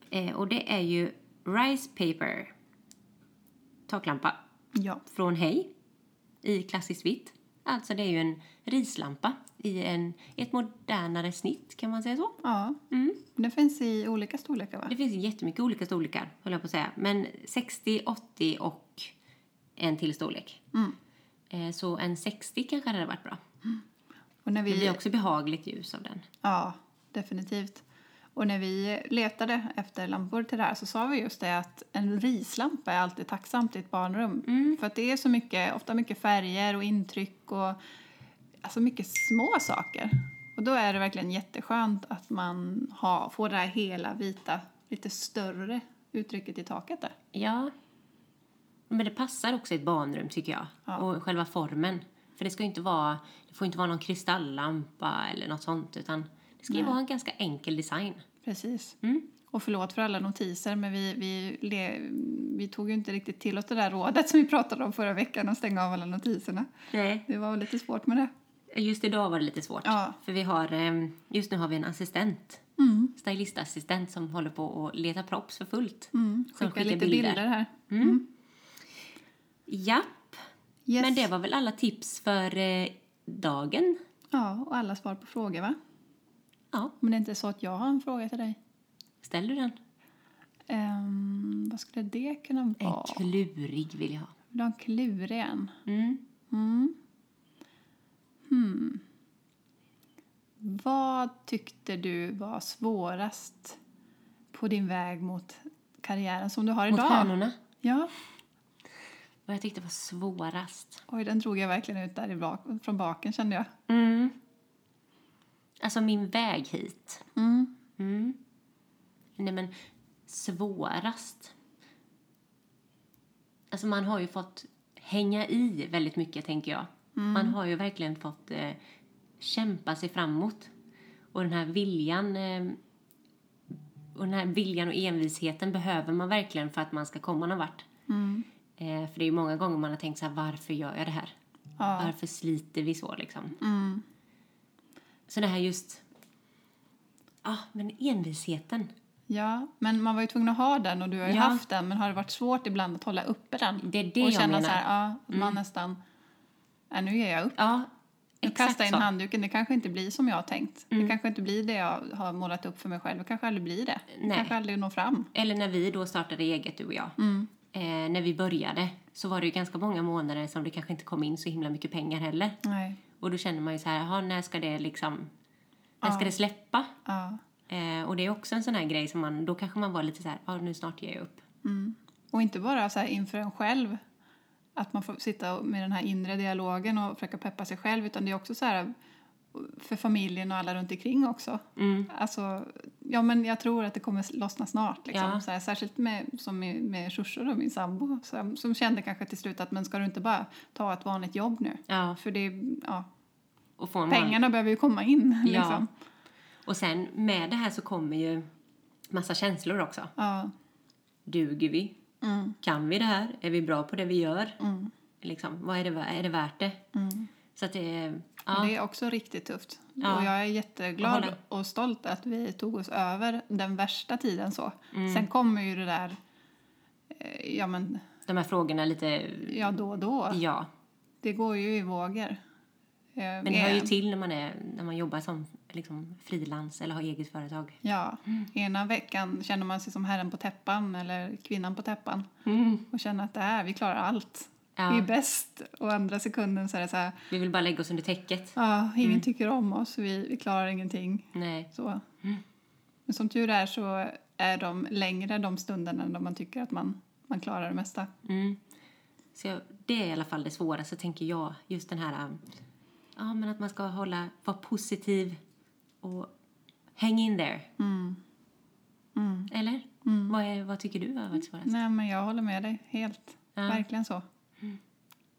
A: Eh, och det är ju Rice Paper taklampa
B: Ja.
A: från Hej i klassiskt vitt. Alltså det är ju en rislampa i en, i ett modernare snitt kan man säga så.
B: ja.
A: Mm.
B: Den finns i olika storlekar va?
A: Det finns jättemycket olika storlekar, höll jag på att säga. Men 60, 80 och en till storlek. Eh, så en 60 kanske hade varit bra.
B: Och när
A: Det blir också behagligt ljus av den.
B: Ja, definitivt. Och när vi letade efter lampor till det här så sa vi just det att en rislampa är alltid tacksamt i ett barnrum. För att det är så mycket, ofta mycket färger och intryck och alltså mycket små saker. Och då är det verkligen jätteskönt att man har, får det här hela vita, lite större uttrycket i taket där.
A: Ja. Men det passar också i ett barnrum tycker jag. Och själva formen. För det ska ju inte vara, det får inte vara någon kristalllampa eller något sånt utan det ska ju vara en ganska enkel design.
B: Precis.
A: Mm.
B: Och förlåt för alla notiser, men vi, vi, le, vi tog ju inte riktigt till oss det där rådet som vi pratade om förra veckan, att stänga av alla notiserna.
A: Nej.
B: Det var väl lite svårt med det.
A: Just idag var det lite svårt.
B: Ja.
A: För vi har, eh, just nu har vi en assistent.
B: Mm.
A: Stylistassistent som håller på att leta props för fullt. Som
B: Mm. Skicka lite bilder, här.
A: Mm. Japp.
B: Yes.
A: Men det var väl alla tips för eh, dagen?
B: Ja, och alla svar på frågor va?
A: Ja,
B: Om det inte är så att jag har en fråga till dig.
A: ställ du den.
B: Ehm, vad skulle det kunna
A: En
B: vara?
A: klurig vill jag ha.
B: Vill du ha en klurig en?
A: Mm.
B: Hmm. Vad tyckte du var svårast på din väg mot karriären som du har
A: Mot
B: idag?
A: stjärnorna.
B: ja.
A: Vad jag tyckte var svårast?
B: Oj, den drog jag verkligen ut där i bak, från baken kände jag.
A: Mm. Alltså min väg hit.
B: Mm.
A: Mm. Nej men svårast. Alltså man har ju fått hänga i väldigt mycket tänker jag.
B: Mm.
A: Man har ju verkligen fått eh, kämpa sig framåt. Och den här viljan eh, och den här viljan och envisheten behöver man verkligen för att man ska komma någon vart.
B: Mm.
A: Eh, för det är ju många gånger man har tänkt så här, varför gör jag det här?
B: Ja.
A: Varför sliter vi så liksom? Så det här just, ja men envisheten.
B: Ja, men man var ju tvungen att ha den och du har ju
A: Ja.
B: haft den. Men har det varit svårt ibland att hålla uppe den?
A: Det är det
B: och
A: jag
B: känna
A: menar. Mm.
B: så här, ja, att man nästan, nej nu ger jag upp.
A: Ja,
B: Nu kastar jag in
A: så. Mm.
B: handduken, det kanske inte blir som jag har tänkt. Det kanske inte blir det jag har målat upp för mig själv. Det kanske aldrig blir det. Det
A: Nej.
B: kanske aldrig når fram.
A: Eller när vi då startade eget, du och jag. Eh, när vi började så var det ju ganska många månader som det kanske inte kom in så himla mycket pengar heller.
B: Nej.
A: Och då känner man ju så här, jaha, när ska det liksom, när ska det släppa?
B: Ja.
A: Eh, och det är också en sån här grej som man, då kanske man var lite så här, ja nu snart ger jag upp.
B: Mm. Och inte bara så här inför en själv. Att man får sitta med den här inre dialogen och försöka peppa sig själv. Utan det är också så här för familjen och alla runt omkring också.
A: Mm.
B: Alltså, ja men jag tror att det kommer lossna snart. Liksom.
A: Ja.
B: Så här, särskilt med, som med, med Shushu och min sambo. Som, som kände kanske till slut att men ska du inte bara ta ett vanligt jobb nu?
A: Ja,
B: För det, ja,
A: och få en vanlig-
B: pengarna behöver ju komma
A: Ja.
B: in. Liksom.
A: Och sen med det här så kommer ju massa känslor också.
B: Ja.
A: Duger vi? Kan vi det här? Är vi bra på det vi gör? Liksom, vad är det, vä- är det värt det? Så att det,
B: Och
A: ja,
B: Det är också riktigt tufft.
A: Ja.
B: Och jag är
A: Jag
B: jätteglad
A: håller.
B: och stolt att vi tog oss över den värsta tiden så.
A: Mm.
B: Sen kommer ju det där, eh, ja men,
A: de här frågorna lite,
B: ja då och då.
A: ja.
B: Det går ju i vågor. Eh, Men
A: Men det hör ju till när man, är, när man jobbar som liksom, frilans eller har eget företag.
B: Ja,
A: Mm.
B: ena veckan känner man sig som herren på täppan eller kvinnan på täppan och känner att det här, vi klarar allt.
A: Mm. Ja.
B: Vi är bäst. Och andra sekunden så är det så här,
A: Vi vill bara lägga oss under täcket.
B: ja, ingen
A: Mm.
B: tycker om oss, vi, vi klarar ingenting.
A: Nej.
B: Så. Men som tur är så är de längre de stunderna då man tycker att man, man klarar det mesta.
A: Mm. Så jag, det är i alla fall det svåraste, tänker jag. Just den här... um, Ja, men att man ska hålla, vara positiv och hang in there. Eller? Vad, är, vad tycker du har varit svårast?
B: Nej, men jag håller med dig helt.
A: Ja.
B: Verkligen så.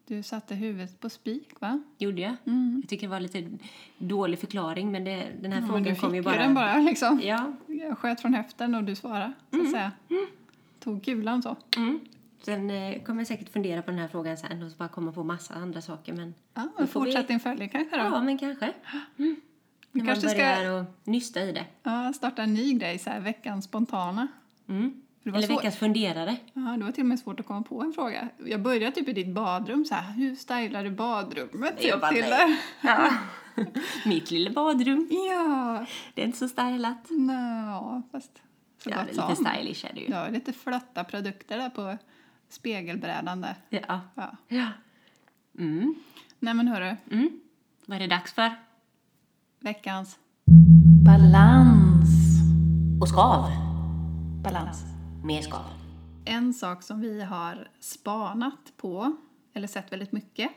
B: Du satte huvudet på spik, va?
A: Gjorde jag? Jag tycker det var lite dålig förklaring, men det, den här
B: Mm. Men
A: frågan
B: du
A: kom
B: fick
A: ju
B: ju
A: bara...
B: den bara liksom.
A: Ja.
B: Jag sköt från höften och du svarade, så att säga. Tog kulan så.
A: Mm. Sen eh, kommer jag säkert fundera på den här frågan sen och så bara komma på massa andra saker. Men Då
B: Ja, men
A: får vi-
B: fortsätt din följe kanske då.
A: ja, men kanske.
B: Vi
A: När
B: kanske
A: man
B: ska-
A: börjar och nysta i det.
B: Ja, starta en ny grej, så här, veckans spontana.
A: Mm.
B: För det var
A: Eller
B: svårt.
A: veckans funderare.
B: Ja, det var till och med svårt att komma på en fråga. Jag började typ i ditt badrum så här, hur stylar du badrummet?
A: Jag bara,
B: till
A: nej. Ja. Mitt lilla badrum.
B: Ja,
A: Det är inte så stylat.
B: nå, fast så
A: Ja,
B: gott
A: det är
B: som.
A: lite stylish är det ju.
B: Du har ju lite flötta produkter där på spegelbrädan där.
A: Ja.
B: Ja.
A: ja. Mm.
B: Nej men hörru,
A: Mm. Vad är det dags för?
B: veckans
A: Balans. Och skav.
B: balans.
A: Mer skav.
B: En sak som vi har spanat på, eller sett väldigt mycket,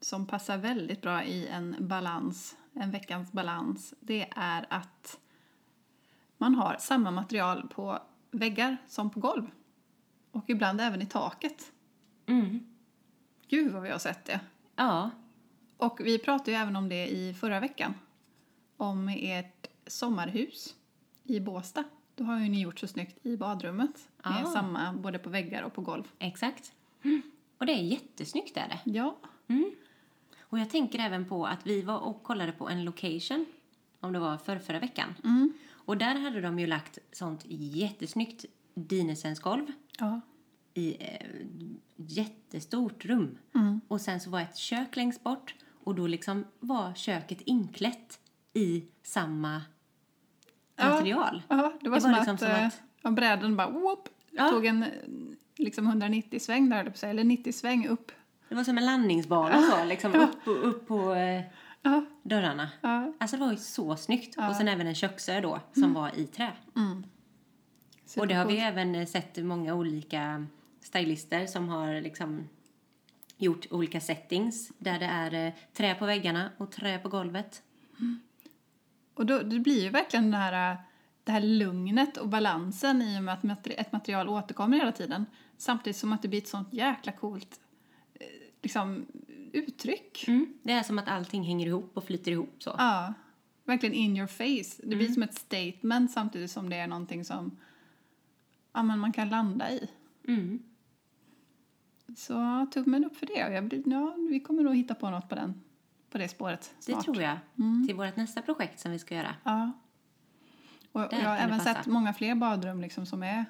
B: som passar väldigt bra i en balans, en veckans balans, det är att man har samma material på väggar som på golv. Och ibland även i taket.
A: Mm.
B: Gud vad vi har sett det!
A: Ja.
B: Och vi pratade ju även om det i förra veckan. Om ert sommarhus i Båstad. Då har ju ni gjort så snyggt i badrummet.
A: Ah.
B: Med samma, både på väggar och på golv.
A: Exakt. Mm. Och det är jättesnyggt är det.
B: Ja,
A: Och jag tänker även på att vi var och kollade på en location, om det var för förra veckan.
B: Mm.
A: Och där hade de ju lagt sånt jättesnyggt Dinesensgolv
B: Ja.
A: i eh, jättestort rum.
B: Mm.
A: Och sen så var ett kök längst bort och då liksom var köket inklätt i samma
B: Ja.
A: material.
B: ja det var,
A: Det
B: som,
A: var liksom
B: att,
A: som
B: eh,
A: att-
B: ja, brädan bara whoop,
A: Ja.
B: tog en eh, liksom 190-sväng där, höll jag på att säga, eller 90-sväng upp.
A: Det var som en landningsbana så, liksom upp, och- upp på eh,
B: Ja,
A: dörrarna.
B: ja. Mm.
A: Alltså det var ju så snyggt. Och sen även en köksö då, som var i trä. Och det har vi även eh, sett många olika stylister som har liksom gjort olika settings där det är eh, trä på väggarna och trä på golvet.
B: Och då, det blir ju verkligen den här, eh, det här lugnet och balansen i och med att materi- ett material återkommer hela tiden. Samtidigt som att det blir ett sånt jäkla coolt eh, liksom, uttryck.
A: Det är som att allting hänger ihop och flyter ihop så.
B: Ja, verkligen in your face. Det blir som ett statement samtidigt som det är någonting som ja, men man kan landa i.
A: Mm.
B: Så tummen upp för det. Och jag blir, ja, vi kommer nog hitta på något på, den, på det spåret
A: Det
B: snart.
A: tror jag.
B: Mm.
A: Till vårt nästa projekt som vi ska göra.
B: Ja. Och
A: Där
B: jag har
A: kan det
B: även
A: passa.
B: sett många fler badrum liksom som är,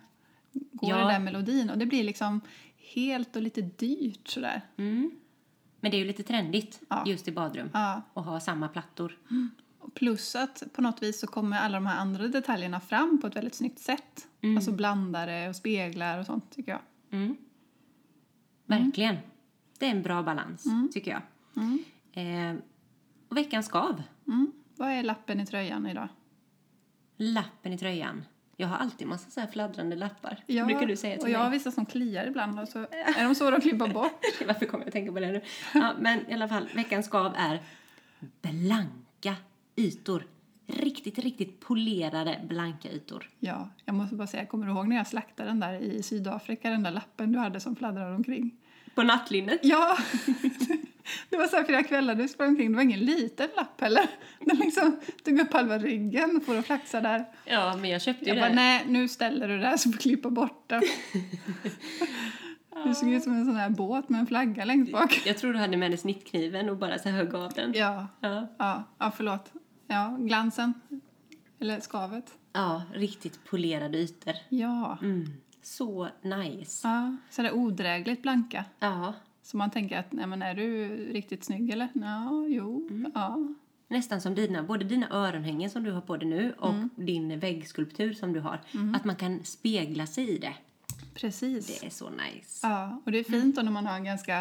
B: går
A: Ja.
B: i den där melodin. Och det blir liksom helt och lite dyrt sådär.
A: Mm. Men det är ju lite trendigt
B: Ja.
A: just i badrum
B: Ja. Mm.
A: och ha samma plattor.
B: Och Plus att på något vis så kommer alla de här andra detaljerna fram på ett väldigt snyggt sätt. Alltså blandare och speglar och sånt tycker jag.
A: Mm. Verkligen. Det är en bra balans,
B: Mm.
A: tycker jag. Eh, och veckans skav.
B: Mm. Vad är lappen i tröjan idag?
A: Lappen i tröjan. Jag har alltid massa så här fladdrande lappar.
B: Ja,
A: brukar du säga
B: och
A: till
B: jag har
A: mig.
B: vissa som kliar ibland och så är de svåra att klippa bort.
A: Varför kommer jag att tänka på det nu? Ja, men i alla fall, veckans skav är blanka ytor. Riktigt, riktigt polerade blanka ytor.
B: Ja, jag måste bara säga, kommer du ihåg när jag slaktade den där i Sydafrika, den där lappen du hade som fladdrade omkring?
A: På nattlinnet.
B: Ja! Det var så här flera kvällar du sprang omkring, det var ingen liten lapp heller. Den liksom tog upp halva ryggen och for och flaxa där.
A: Ja, men jag köpte ju
B: Jag
A: det.
B: bara, nej, nu ställer du det här så får du klippa bort det. Du såg ut som en sån här båt med en flagga längst bak.
A: Jag tror du hade med dig snittkniven och bara så här högg av den.
B: Ja,
A: Ja.
B: ja, ja förlåt. Ja, glansen. Eller skavet.
A: ja, riktigt polerade ytor.
B: Ja.
A: Mm. Så nice.
B: ja. Sådär odrägligt blanka.
A: Ja,
B: Så man tänker att, nej men är du riktigt snygg eller? Ja, jo,
A: Mm.
B: ja.
A: nästan som dina, både dina öronhängen som du har på dig nu och
B: Mm.
A: din väggskulptur som du har. Att man kan spegla sig i det.
B: Precis.
A: Det är så nice.
B: Ja, och det är fint då när man har en ganska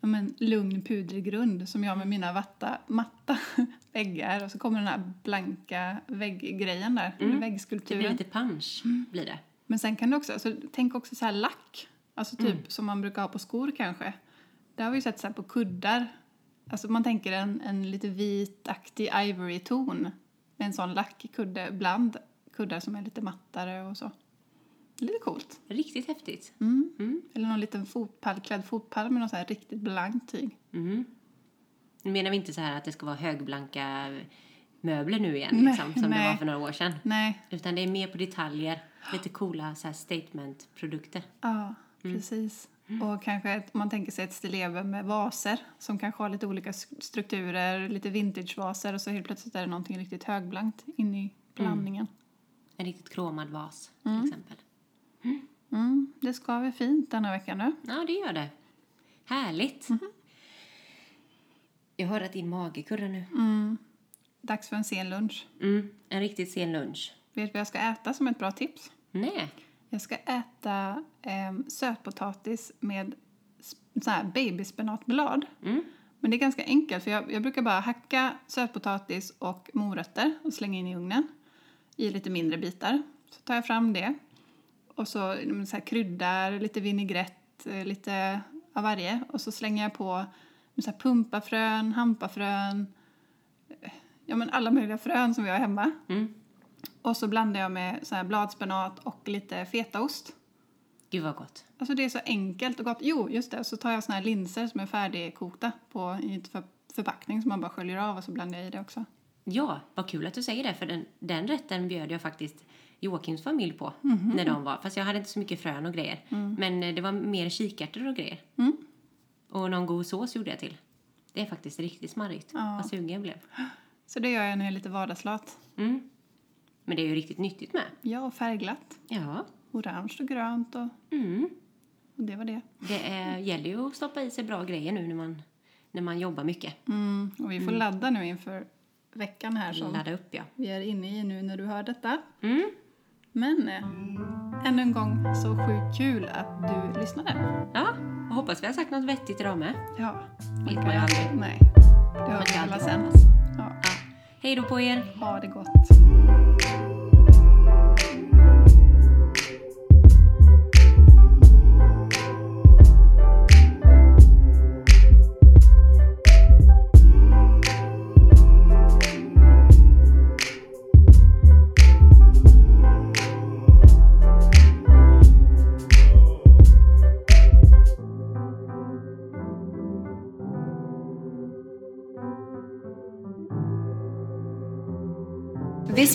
B: ja, men, lugn pudrig grund som jag med mina vatta, matta väggar och så kommer den här blanka vägggrejen där, eller
A: Mm. Det
B: väggskulpturen.
A: blir lite punch,
B: Mm.
A: blir det.
B: Men sen kan du också, alltså, tänk också så här lack, alltså
A: Mm.
B: typ som man brukar ha på skor kanske. Det har vi ju sett så här på kuddar. Alltså man tänker en, en lite vitaktig ivory-ton med en sån lackkudde bland kuddar som är lite mattare och så. Lite coolt.
A: Riktigt häftigt.
B: Mm. Eller någon liten fotpall, klädd fotpall med någon så här riktigt blankt tyg.
A: Nu menar vi inte så här att det ska vara högblanka möbler nu igen,
B: Nej,
A: liksom, som det
B: nej.
A: var för några år sedan.
B: Nej,
A: Utan det är mer på detaljer, lite coola så här statement-produkter.
B: ja, precis. Och kanske ett, man tänker sig ett stillebe med vaser som kanske har lite olika s- strukturer, lite vintagevaser och så helt plötsligt är det någonting riktigt högblankt in i blandningen.
A: En riktigt kromad vas, till exempel.
B: Mm, det ska vi fint denna vecka nu.
A: Ja, det gör det. Härligt.
B: Mm-hmm.
A: Jag hör att din mage kurrar nu.
B: Mm. Dags för en sen lunch.
A: Mm, en riktigt sen lunch.
B: Vet du vad jag ska äta som ett bra tips?
A: Nej.
B: Jag ska äta ehm, sötpotatis med sp- sån här babyspenatblad. Men det är ganska enkelt för jag, jag brukar bara hacka sötpotatis och morötter och slänga in i ugnen i lite mindre bitar. Så tar jag fram det och så, mm, så här, kryddar, lite vinägrett, eh, lite av varje och så slänger jag på mm, så här, pumpafrön, hampafrön, eh, ja men alla möjliga frön som vi har hemma. Och så blandar jag med så här bladspenat och lite fetaost.
A: Gud vad gott.
B: Alltså det är så enkelt och gott. Jo, just det, så tar jag såna här linser som är färdigkokta på, i en för, förpackning som man bara sköljer av och så blandar jag i det också.
A: Ja, vad kul att du säger det, för den, den rätten bjöd jag faktiskt Joakims familj på när de var, fast jag hade inte så mycket frön och grejer. Men eh, det var mer kikärtor och grejer. Och någon god sås gjorde jag till. Det är faktiskt riktigt smarrigt, vad sugen jag blev.
B: Så det gör jag när jag är lite vardagslat.
A: Mm. Men det är ju riktigt nyttigt med.
B: Ja, och färgglatt.
A: Ja.
B: Orange och grönt och,
A: Mm.
B: och det var det.
A: Det är, gäller ju att stoppa i sig bra grejer nu när man, när man jobbar mycket.
B: Mm, och vi får ladda nu inför veckan här som
A: Ladda upp, ja.
B: vi är inne i nu när du hör detta.
A: Mm.
B: Men eh, ännu en gång så sjukt kul att du lyssnade.
A: Ja, och hoppas vi har sagt något vettigt idag med.
B: Ja,
A: Vet man ju aldrig.
B: nej. Det hör vi
A: kan
B: alla
A: alltid
B: sen.
A: hoppas.
B: Ja.
A: Ja. Hej då på er!
B: Ha det gott.
C: This